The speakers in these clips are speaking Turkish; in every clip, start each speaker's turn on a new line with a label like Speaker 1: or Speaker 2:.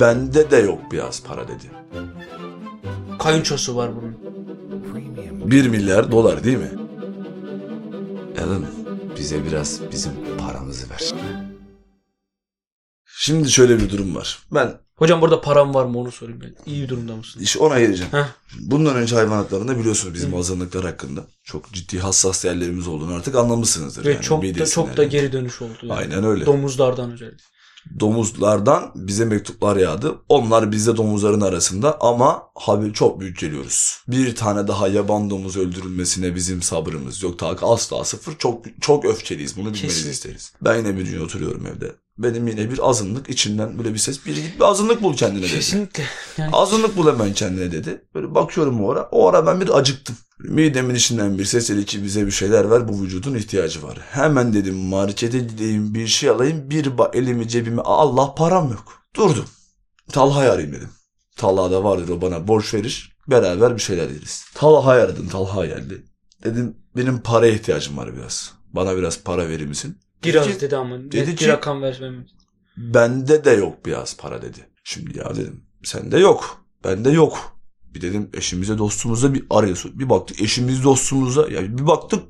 Speaker 1: bende de yok biraz para dedi.
Speaker 2: Kayınçosu var bunun.
Speaker 1: 1 milyar dolar değil mi? Alan bize biraz bizim paramızı ver. Şimdi şöyle bir durum var. Ben
Speaker 2: Hocam burada param var mı onu sorayım ben. İyi durumda mısın?
Speaker 1: iş ona geleceğim.
Speaker 2: Heh.
Speaker 1: Bundan önce hayvanatlarında biliyorsunuz bizim azınlıklar hakkında çok ciddi hassas yerlerimiz olduğunu artık anlamışsınızdır.
Speaker 2: Ve
Speaker 1: yani
Speaker 2: çok da
Speaker 1: midesinden.
Speaker 2: çok da geri dönüş oldu. yani.
Speaker 1: Aynen öyle.
Speaker 2: Domuzlardan özellikle.
Speaker 1: domuzlardan bize mektuplar yağdı. Onlar bizde domuzların arasında ama haber çok büyük geliyoruz. Bir tane daha yaban domuz öldürülmesine bizim sabrımız yok. Tak asla sıfır. Çok çok öfkeliyiz. Bunu bilmenizi
Speaker 2: Kesinlikle.
Speaker 1: isteriz. Ben yine bir gün oturuyorum evde. Benim yine bir azınlık içinden böyle bir ses. Bir git bir azınlık bul kendine dedi.
Speaker 2: Kesinlikle.
Speaker 1: Azınlık bul hemen kendine dedi. Böyle bakıyorum o ara. O ara ben bir acıktım. Midemin içinden bir ses dedi ki bize bir şeyler ver bu vücudun ihtiyacı var. Hemen dedim markete gideyim bir şey alayım bir ba- elimi cebime Allah param yok. Durdum. Talha'yı arayayım dedim. Talha da vardır o bana borç verir beraber bir şeyler yeriz. Talha'yı aradım Talha geldi. Dedim benim paraya ihtiyacım var biraz. Bana biraz para verir misin?
Speaker 2: Biraz dedi ama. Net
Speaker 1: dedi
Speaker 2: bir
Speaker 1: ki-
Speaker 2: rakam vermem.
Speaker 1: Bende de yok biraz para dedi. Şimdi ya dedim sende yok. Bende yok. Bir dedim eşimize dostumuza bir arıyorsun. Bir baktık eşimiz dostumuza ya bir baktık.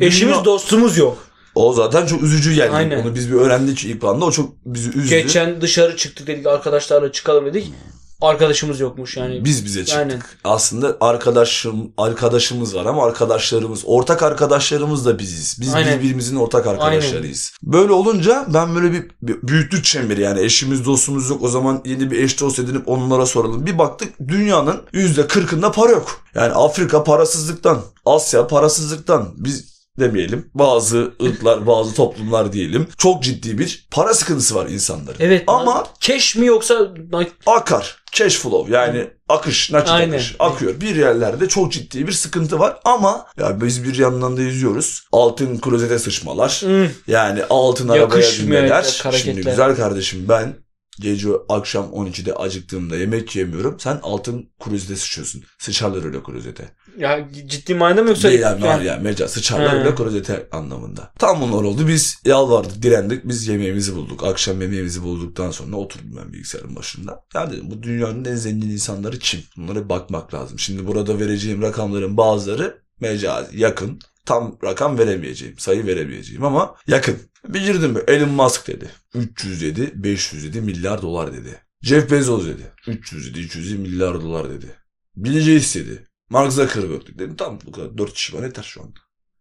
Speaker 2: Eşimiz
Speaker 1: dünya-
Speaker 2: dostumuz yok.
Speaker 1: O zaten çok üzücü geldi.
Speaker 2: Aynen.
Speaker 1: Onu biz bir öğrendik ilk anda o çok bizi üzdü.
Speaker 2: Geçen dışarı çıktık dedik arkadaşlarla çıkalım dedik. Arkadaşımız yokmuş yani.
Speaker 1: Biz bize çıktık.
Speaker 2: Aynen.
Speaker 1: Aslında arkadaşım arkadaşımız var ama arkadaşlarımız ortak arkadaşlarımız da biziz. Biz
Speaker 2: Aynen.
Speaker 1: birbirimizin ortak arkadaşlarıyız. Böyle olunca ben böyle bir, bir büyüklük çemberi yani eşimiz dostumuz yok o zaman yeni bir eş dost edinip onlara soralım. Bir baktık dünyanın %40'ında para yok. Yani Afrika parasızlıktan, Asya parasızlıktan biz demeyelim. Bazı ırklar, bazı toplumlar diyelim. Çok ciddi bir para sıkıntısı var insanların.
Speaker 2: Evet.
Speaker 1: Ama-
Speaker 2: keş mi yoksa
Speaker 1: akar. Cash flow yani akış, nakit
Speaker 2: Aynen.
Speaker 1: akış akıyor. Bir yerlerde çok ciddi bir sıkıntı var ama ya biz bir yandan da izliyoruz. Altın klozete sıçmalar.
Speaker 2: Hmm,
Speaker 1: Yani altın arabaya
Speaker 2: Yakışmıyor
Speaker 1: binmeler.
Speaker 2: evet, hareketler.
Speaker 1: Şimdi güzel kardeşim ben gece akşam 12'de acıktığımda yemek yemiyorum. Sen altın klozete sıçıyorsun. Sıçarlar öyle klozete.
Speaker 2: ya ciddi manada mı yoksa
Speaker 1: Değil yani,
Speaker 2: Yani-
Speaker 1: var ya mecaz. Sıçarlar
Speaker 2: He.
Speaker 1: öyle klozete anlamında. Tam bunlar oldu. Biz yalvardık, direndik. Biz yemeğimizi bulduk. Akşam yemeğimizi bulduktan sonra oturdum ben bilgisayarın başında. Ya dedim bu dünyanın en zengin insanları kim? Bunlara bakmak lazım. Şimdi burada vereceğim rakamların bazıları mecazi, yakın. Tam rakam veremeyeceğim, sayı veremeyeceğim ama yakın. Bir girdim mi Elon Musk dedi. 300 dedi, 500 dedi, milyar dolar dedi. Jeff Bezos dedi. 300 dedi, 200 dedi, milyar dolar dedi. Bill Gates dedi. Mark Zuckerberg dedi. Dedim tamam bu kadar. 4 kişi bana yeter şu anda.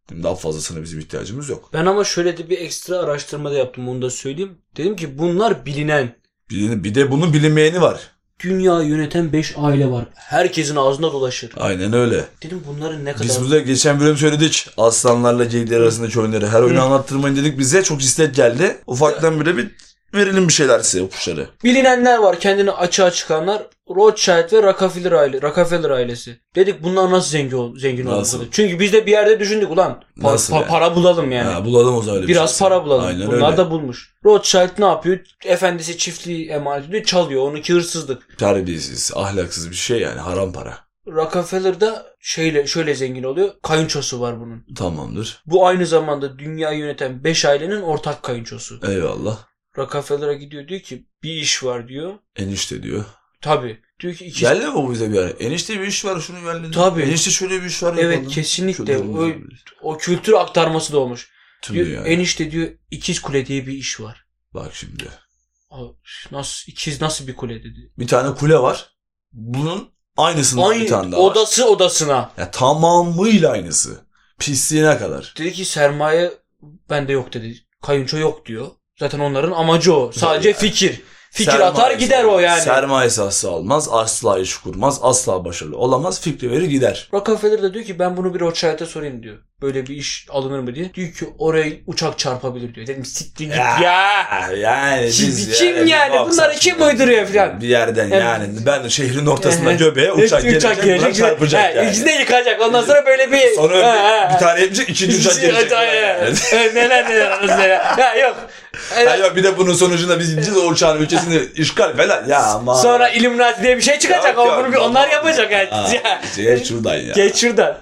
Speaker 1: Dedim daha fazlasına bizim ihtiyacımız yok.
Speaker 2: Ben ama şöyle de bir ekstra araştırma da yaptım onu da söyleyeyim. Dedim ki bunlar bilinen
Speaker 1: Bir, bir de bunun bilinmeyeni var.
Speaker 2: dünya yöneten 5 aile var. Herkesin ağzında dolaşır.
Speaker 1: Aynen öyle.
Speaker 2: Dedim bunların ne kadar
Speaker 1: Biz burada geçen bölüm söyledik. Aslanlarla geyikler arasındaki oyunları her oyunu
Speaker 2: Hı.
Speaker 1: anlattırmayın dedik. Bize çok istek geldi. Ufaktan bile bir verelim bir şeyler size ipuçları.
Speaker 2: bilinenler var kendini açığa çıkanlar. Rothschild ve Rockefeller aile, Rockefeller ailesi. Dedik bunlar nasıl zengin ol, zengin
Speaker 1: Nasıl?
Speaker 2: oldu? Çünkü biz de bir yerde düşündük ulan. pa-
Speaker 1: Nasıl
Speaker 2: pa-
Speaker 1: yani?
Speaker 2: para bulalım yani.
Speaker 1: Ha, bulalım o zaman. öyle bir
Speaker 2: Biraz
Speaker 1: şey.
Speaker 2: para bulalım.
Speaker 1: Aynen
Speaker 2: Bunlar
Speaker 1: öyle.
Speaker 2: da bulmuş. Rothschild ne yapıyor? Efendisi çiftliği emanet ediyor. Çalıyor. Onunki hırsızlık.
Speaker 1: Terbiyesiz, ahlaksız bir şey yani haram para.
Speaker 2: Rockefeller da şeyle, şöyle zengin oluyor. Kayınçosu var bunun.
Speaker 1: Tamamdır.
Speaker 2: Bu aynı zamanda dünyayı yöneten 5 ailenin ortak kayınçosu.
Speaker 1: Eyvallah.
Speaker 2: Rockefeller'a gidiyor diyor ki bir iş var diyor.
Speaker 1: Enişte diyor.
Speaker 2: Tabi. Diyor ki iki...
Speaker 1: Geldi mi bu bize bir ara? Enişte bir iş var şunu geldi.
Speaker 2: Tabii.
Speaker 1: Enişte şöyle bir iş var.
Speaker 2: Evet
Speaker 1: yapalım.
Speaker 2: kesinlikle.
Speaker 1: Şöyle bir
Speaker 2: O,
Speaker 1: iş var.
Speaker 2: o kültür aktarması da olmuş.
Speaker 1: Tüm
Speaker 2: Diyor,
Speaker 1: dünya.
Speaker 2: Enişte diyor ikiz kule diye bir iş var.
Speaker 1: Bak şimdi.
Speaker 2: Abi, Nasıl ikiz nasıl bir kule dedi.
Speaker 1: Bir tane kule var. Bunun aynısından bir tane
Speaker 2: Aynı
Speaker 1: daha var.
Speaker 2: odası odasına.
Speaker 1: Ya tamamıyla aynısı. Pisliğine kadar.
Speaker 2: Dedi ki sermaye bende yok dedi. Kayınço yok diyor. Zaten onların amacı o. Sadece fikir. Fikir atar
Speaker 1: Sermayesi-
Speaker 2: gider o yani.
Speaker 1: Sermayesi asla almaz, asla iş kurmaz, asla başarılı olamaz, fikri verir gider.
Speaker 2: Rockefeller de diyor ki ben bunu bir Rothschild'e sorayım diyor. Böyle bir iş alınır mı diye. Diyor ki oraya uçak çarpabilir diyor. Dedim siktir git
Speaker 1: Ya,
Speaker 2: ya.
Speaker 1: Yani
Speaker 2: Şimdi
Speaker 1: biz
Speaker 2: kim yani?
Speaker 1: baksak-
Speaker 2: Bunları kim uyduruyor filan?
Speaker 1: Bir yerden
Speaker 2: Evet.
Speaker 1: yani ben şehrin ortasında
Speaker 2: Evet.
Speaker 1: göbeğe uçak gelecek, uçak çarpacak
Speaker 2: He,
Speaker 1: yani.
Speaker 2: İçinde yıkacak. Ondan sonra böyle bir...
Speaker 1: Sonra
Speaker 2: He, he,
Speaker 1: bir, bir
Speaker 2: he.
Speaker 1: tane yapacak, ikinci
Speaker 2: Şey,
Speaker 1: uçak gelecek.
Speaker 2: He, he,
Speaker 1: Yani.
Speaker 2: he. Neler neler neler. Ha yok.
Speaker 1: Ha yok, bir de bunun sonucunda biz gideceğiz o uçağın ülkesini işgal falan. Ya ama.
Speaker 2: Sonra Illuminati diye bir şey çıkacak.
Speaker 1: Yok,
Speaker 2: ama
Speaker 1: yok,
Speaker 2: bunu bir
Speaker 1: yok.
Speaker 2: onlar yapacak.
Speaker 1: Aa,
Speaker 2: Yani. Ya.
Speaker 1: geç şuradan şey, ya.
Speaker 2: Geç şuradan.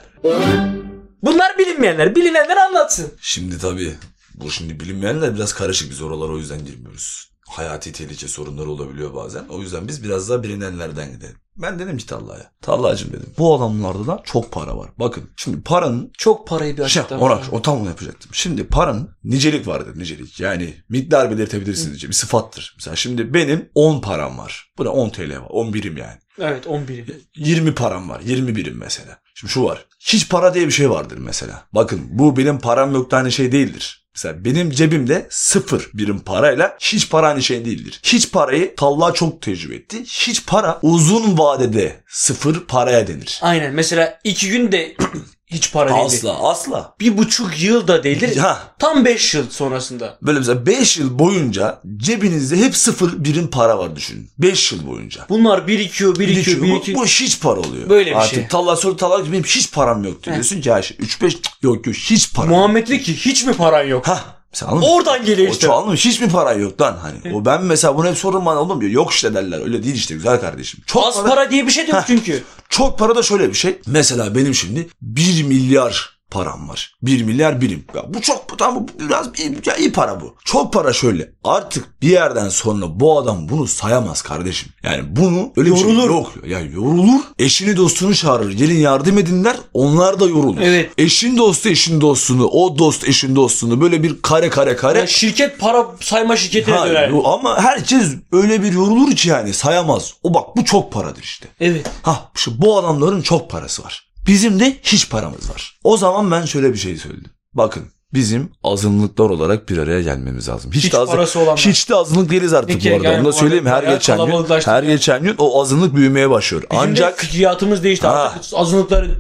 Speaker 2: Bunlar bilinmeyenler. Bilinenler anlatsın.
Speaker 1: Şimdi tabii bu şimdi bilinmeyenler biraz karışık biz oralara o yüzden girmiyoruz. hayati tehlike sorunları olabiliyor bazen. O yüzden biz biraz daha bilinenlerden gidelim. Ben dedim ki Talla'ya. Talla'cığım dedim. Bu adamlarda da çok para var. Bakın şimdi paranın
Speaker 2: Çok parayı bir
Speaker 1: şey,
Speaker 2: açıklama.
Speaker 1: ona, o tam onu yapacaktım. Şimdi paranın nicelik vardır nicelik. Yani miktar belirtebilirsiniz diyeceğim. Bir sıfattır. Mesela şimdi benim 10 param var. Bu ne 10 TL var. 10 birim yani.
Speaker 2: Evet 11'i.
Speaker 1: 20 param var. 20 birim mesela. Şimdi şu var. Hiç para diye bir şey vardır mesela. Bakın bu benim param yok tane şey değildir. Mesela benim cebimde sıfır birim parayla hiç para aynı şey değildir. Hiç parayı Tallah çok tecrübe etti. Hiç para uzun vadede sıfır paraya denir.
Speaker 2: Aynen mesela 2 günde hiç para değildi.
Speaker 1: Asla asla.
Speaker 2: Bir buçuk yıl da değildir.
Speaker 1: Ha,
Speaker 2: Tam 5 yıl sonrasında.
Speaker 1: Böyle mesela 5 yıl boyunca cebinizde hep sıfır birim para var düşünün. 5 yıl boyunca.
Speaker 2: Bunlar birikiyor, birikiyor,
Speaker 1: Birikiyor. Bu,
Speaker 2: birikiyor.
Speaker 1: bu hiç para oluyor.
Speaker 2: Böyle bir
Speaker 1: Artık
Speaker 2: şey.
Speaker 1: Tallah soru tallah benim hiç param yok diyor.
Speaker 2: Heh.
Speaker 1: diyorsun ki ya 3-5 yok yok hiç param yok.
Speaker 2: Muhammed dedi ki hiç mi paran yok?
Speaker 1: Hah sen anladın mı?
Speaker 2: Oradan geliyor
Speaker 1: O
Speaker 2: işte.
Speaker 1: çoğalmış hiç mi para yok lan hani.
Speaker 2: Evet.
Speaker 1: O ben mesela bunu hep sorun bana oğlum diyor. Yok işte derler öyle değil işte güzel kardeşim. Çok
Speaker 2: Az
Speaker 1: para,
Speaker 2: para diye bir şey de yok
Speaker 1: Heh.
Speaker 2: çünkü.
Speaker 1: çok para da şöyle bir şey. Mesela benim şimdi 1 milyar param var. 1 milyar birim. Ya bu çok bu tamam bu biraz iyi, ya iyi para bu. Çok para şöyle. Artık bir yerden sonra bu adam bunu sayamaz kardeşim. Yani bunu öyle bir şey
Speaker 2: Yorulur.
Speaker 1: yok. Ya yorulur. Eşini dostunu çağırır. Gelin yardım edinler. Onlar da yorulur.
Speaker 2: Evet.
Speaker 1: Eşin dostu eşin dostunu, o dost eşin dostunu böyle bir kare kare kare.
Speaker 2: Yani şirket para sayma şirketine
Speaker 1: Ha,
Speaker 2: döner.
Speaker 1: yo- ama herkes öyle bir yorulur ki yani sayamaz. O bak bu çok paradır işte.
Speaker 2: Evet.
Speaker 1: Ha şu bu adamların çok parası var. Bizim de hiç paramız var. O zaman ben şöyle bir şey söyledim. Bakın bizim azınlıklar olarak bir araya gelmemiz lazım. Hiç,
Speaker 2: Hiç
Speaker 1: de azın-
Speaker 2: parası olanlar.
Speaker 1: Hiç de azınlık değiliz
Speaker 2: Bir
Speaker 1: artık
Speaker 2: kere
Speaker 1: bu arada.
Speaker 2: yani
Speaker 1: Onu da
Speaker 2: bu
Speaker 1: söyleyeyim
Speaker 2: arada
Speaker 1: her
Speaker 2: bayağı
Speaker 1: geçen gün
Speaker 2: kalabalıklaştı
Speaker 1: her
Speaker 2: yani.
Speaker 1: geçen gün o azınlık büyümeye başlıyor.
Speaker 2: Ancak
Speaker 1: Ancak
Speaker 2: fikriyatımız değişti
Speaker 1: Ha.
Speaker 2: artık azınlıkların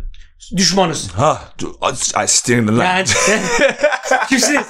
Speaker 2: düşmanız.
Speaker 1: ha dur, ay, ay, siktirin lan.
Speaker 2: Yani kimsiniz?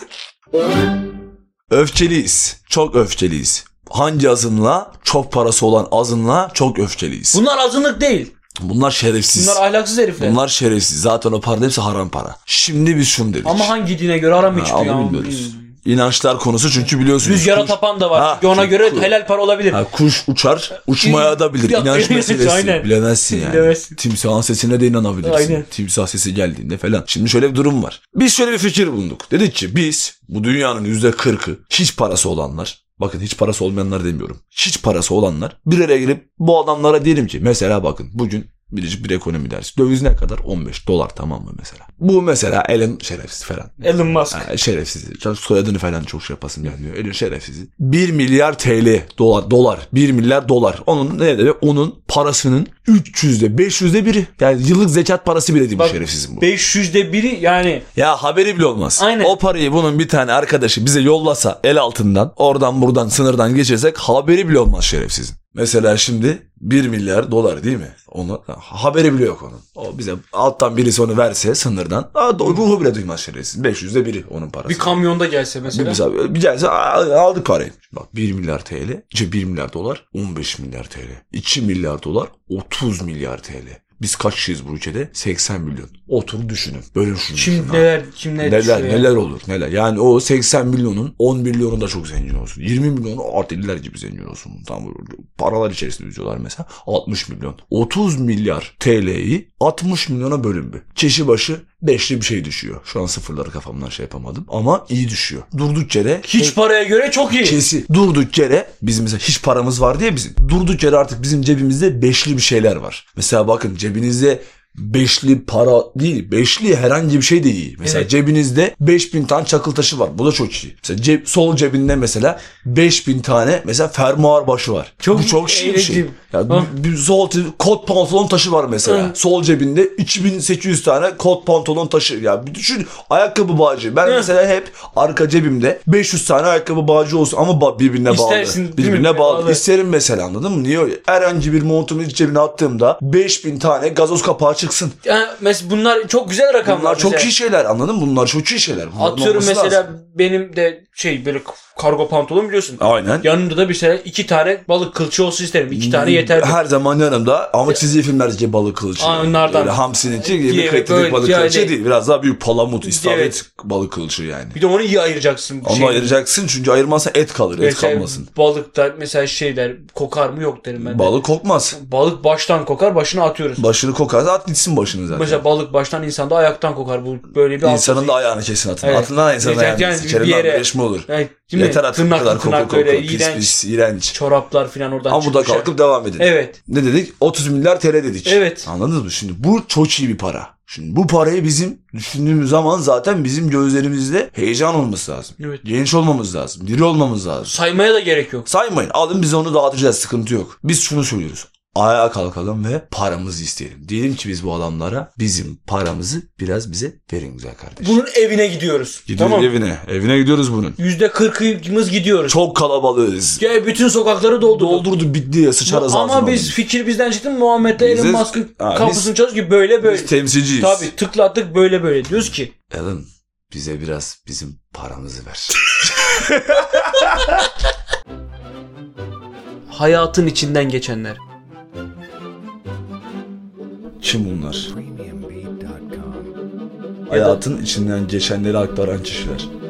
Speaker 1: Öfkeliyiz. Çok öfkeliyiz. Hangi azınla? Çok parası olan azınla çok öfkeliyiz.
Speaker 2: Bunlar azınlık değil.
Speaker 1: Bunlar şerefsiz.
Speaker 2: Bunlar ahlaksız herifler.
Speaker 1: Bunlar şerefsiz. Zaten o para hepsi haram para. Şimdi biz şunu dedik.
Speaker 2: Ama hangi dine göre aram hiç
Speaker 1: Ha, onu bilmiyoruz. İnançlar konusu çünkü biliyorsunuz.
Speaker 2: Rüzgara
Speaker 1: kuş-
Speaker 2: tapan da var.
Speaker 1: Ha,
Speaker 2: Çünkü ona
Speaker 1: çok
Speaker 2: göre
Speaker 1: cool.
Speaker 2: helal para olabilir.
Speaker 1: Ha, kuş uçar, uçmaya da bilir.
Speaker 2: Ya,
Speaker 1: İnanç
Speaker 2: evet,
Speaker 1: meselesi.
Speaker 2: aynen.
Speaker 1: Bilemezsin yani.
Speaker 2: Bilemezsin.
Speaker 1: Timsahın sesine de inanabilirsin.
Speaker 2: Aynen.
Speaker 1: Timsah sesi geldiğinde falan. Şimdi şöyle bir durum var. Biz şöyle bir fikir bulunduk. Dedik ki biz bu dünyanın yüzde kırkı hiç parası olanlar. Bakın hiç parası olmayanlar demiyorum. Hiç parası olanlar bir araya gelip bu adamlara diyelim ki mesela bakın bugün biricik bir ekonomi dersi. Döviz ne kadar? 15 dolar tamam mı mesela? Bu mesela Elon şerefsiz falan.
Speaker 2: Elon Musk.
Speaker 1: Ha, şerefsizi. Çok soyadını falan çok şey yapasım gelmiyor. Elin şerefsizi. 1 milyar TL dolar dolar 1 milyar dolar. Onun ne demek? Onun parasının 300'de 500'de biri. Yani yıllık zekat parası bile değil bu
Speaker 2: Bak,
Speaker 1: şerefsizin bu.
Speaker 2: 500'de biri yani
Speaker 1: Ya haberi bile olmaz.
Speaker 2: Aynen.
Speaker 1: O parayı bunun bir tane arkadaşı bize yollasa el altından oradan buradan sınırdan geçirsek haberi bile olmaz şerefsizin. Mesela şimdi 1 milyar dolar değil mi? Onu haberi bile yok onun. O bize alttan birisi onu verse sınırdan. Aa, do- ruhu bile duymaz şerefsiz. 500'de biri onun parası.
Speaker 2: bir kamyonda gelse mesela.
Speaker 1: Mesela bir tanesi "Aa, aldık parayı. Bak 1 milyar TL, şey 1 milyar dolar, 15 milyar TL, 2 milyar dolar, 30 milyar TL. Biz kaç kişiyiz bu ülkede? 80 milyon. Otur düşünün. Bölün şunu.
Speaker 2: Kim
Speaker 1: şuna.
Speaker 2: neler, kim ne
Speaker 1: neler,
Speaker 2: düşüyor ya.
Speaker 1: neler olur neler. Yani o 80 milyonun 10 milyonu da çok zengin olsun. 20 milyonu arteliler gibi zengin olsun. Tam böyle paralar içerisinde yüzüyorlar mesela. 60 milyon. 30 milyar TL'yi 60 milyona bölün bir. Çeşi başı beşli bir şey düşüyor. Şu an sıfırları kafamdan şey yapamadım. Ama iyi düşüyor. Durduk yere
Speaker 2: Hiç paraya göre çok iyi.
Speaker 1: Kesi. Durduk yere bizim mesela hiç paramız var diye bizim. Durduk yere artık bizim cebimizde beşli bir şeyler var. Mesela bakın cebinizde beşli para değil, beşli herhangi bir şey de iyi. Mesela
Speaker 2: Evet.
Speaker 1: cebinizde 5000 tane çakıl taşı var. Bu da çok iyi. Mesela cep, sol cebinde mesela 5000 tane mesela fermuar başı var.
Speaker 2: Çok
Speaker 1: Bu çok iyi bir şey.
Speaker 2: eğlenceli.
Speaker 1: Ya
Speaker 2: Ha.
Speaker 1: bir- bir sol te- kot pantolon taşı var mesela.
Speaker 2: Hı.
Speaker 1: Sol cebinde 3800 tane kot pantolon taşı. Ya bir düşün ayakkabı bağcı. Ben
Speaker 2: Hı.
Speaker 1: mesela hep arka cebimde 500 tane ayakkabı bağcı olsun ama ba- birbirine
Speaker 2: İstersin,
Speaker 1: bağlı.
Speaker 2: değil mi?
Speaker 1: Birbirine bağlı.
Speaker 2: Bağlı.
Speaker 1: İsterim mesela anladın mı? Niye öyle? Herhangi bir montumu iç cebine attığımda 5000 tane gazoz kapağı çıksın.
Speaker 2: Yani mesela bunlar çok güzel rakamlar.
Speaker 1: Bunlar çok
Speaker 2: mesela.
Speaker 1: iyi şeyler anladın mı? Bunlar çok iyi şeyler. Bunların
Speaker 2: Atıyorum
Speaker 1: olması
Speaker 2: mesela
Speaker 1: lazım.
Speaker 2: benim de şey böyle kargo pantolon biliyorsun.
Speaker 1: Aynen.
Speaker 2: Yanımda da bir sene iki tane balık kılçığı olsun isterim. İki tane
Speaker 1: Hmm.
Speaker 2: yeter.
Speaker 1: Her zaman yanımda ama çizgi filmlerdeki balık kılıcı.
Speaker 2: Aa, onlardan.
Speaker 1: Öyle hamsineci gibi
Speaker 2: Diye
Speaker 1: kaliteli
Speaker 2: böyle
Speaker 1: balık
Speaker 2: yani-
Speaker 1: kılıcı değil. Biraz daha büyük palamut, istavrit
Speaker 2: Evet.
Speaker 1: balık kılıcı yani.
Speaker 2: Bir de onu iyi ayıracaksın.
Speaker 1: Onu
Speaker 2: Şey-
Speaker 1: ayıracaksın çünkü ayırmazsan et kalır, et
Speaker 2: Mesela
Speaker 1: kalmasın.
Speaker 2: Balıkta mesela şeyler kokar mı yok derim ben. de.
Speaker 1: Balık kokmaz.
Speaker 2: Balık baştan kokar başına atıyoruz.
Speaker 1: Başını kokarsa at gitsin başını zaten.
Speaker 2: Mesela balık baştan insanda ayaktan kokar. Bu böyle bir
Speaker 1: İnsanın da ayağını kesin atın.
Speaker 2: Evet.
Speaker 1: Atından insanın
Speaker 2: Evet,
Speaker 1: ayağını
Speaker 2: yani
Speaker 1: kesin.
Speaker 2: bir
Speaker 1: Kerim'den
Speaker 2: yere-
Speaker 1: birleşme olur.
Speaker 2: Yani şimdi mi?
Speaker 1: Yeter artık bu
Speaker 2: Tırnak
Speaker 1: kadar
Speaker 2: tırnak
Speaker 1: koku koku.
Speaker 2: böyle
Speaker 1: Pis
Speaker 2: iğrenç.
Speaker 1: pis iğrenç.
Speaker 2: Çoraplar falan oradan
Speaker 1: Ama bu da
Speaker 2: çıkmış.
Speaker 1: kalkıp devam edin.
Speaker 2: Evet.
Speaker 1: Ne dedik? 30 milyar TL dedik.
Speaker 2: Evet.
Speaker 1: Anladınız mı? Şimdi bu çok iyi bir para. Şimdi bu parayı bizim düşündüğümüz zaman zaten bizim gözlerimizde heyecan olması lazım.
Speaker 2: evet.
Speaker 1: Genç olmamız lazım. Diri olmamız lazım.
Speaker 2: Saymaya da gerek yok.
Speaker 1: Saymayın alın biz onu dağıtacağız sıkıntı yok. Biz şunu söylüyoruz. Ayağa kalkalım ve paramızı isteyelim. Diyelim ki biz bu adamlara bizim paramızı biraz bize verin güzel kardeşim.
Speaker 2: Bunun evine gidiyoruz.
Speaker 1: Gidiyoruz
Speaker 2: tamam.
Speaker 1: evine. Evine gidiyoruz bunun.
Speaker 2: Yüzde kırkımız gidiyoruz.
Speaker 1: Çok kalabalığız.
Speaker 2: Gel bütün sokakları doldurduk.
Speaker 1: Doldurdu bitti ya sıçarız
Speaker 2: Ama
Speaker 1: ağzına
Speaker 2: biz
Speaker 1: onun.
Speaker 2: fikir bizden çıktı mı Muhammed'le
Speaker 1: Biziz-
Speaker 2: Elon Musk'ın
Speaker 1: Ha, biz-
Speaker 2: kafasını çalış ki böyle böyle.
Speaker 1: Biz temsilciyiz.
Speaker 2: Tabii tıklattık böyle böyle diyoruz ki.
Speaker 1: Alan bize biraz bizim paramızı ver.
Speaker 2: Hayatın içinden geçenler.
Speaker 1: Kim bunlar?
Speaker 3: premiumbeat.com.
Speaker 1: Hayatın içinden geçenleri aktaran kişiler.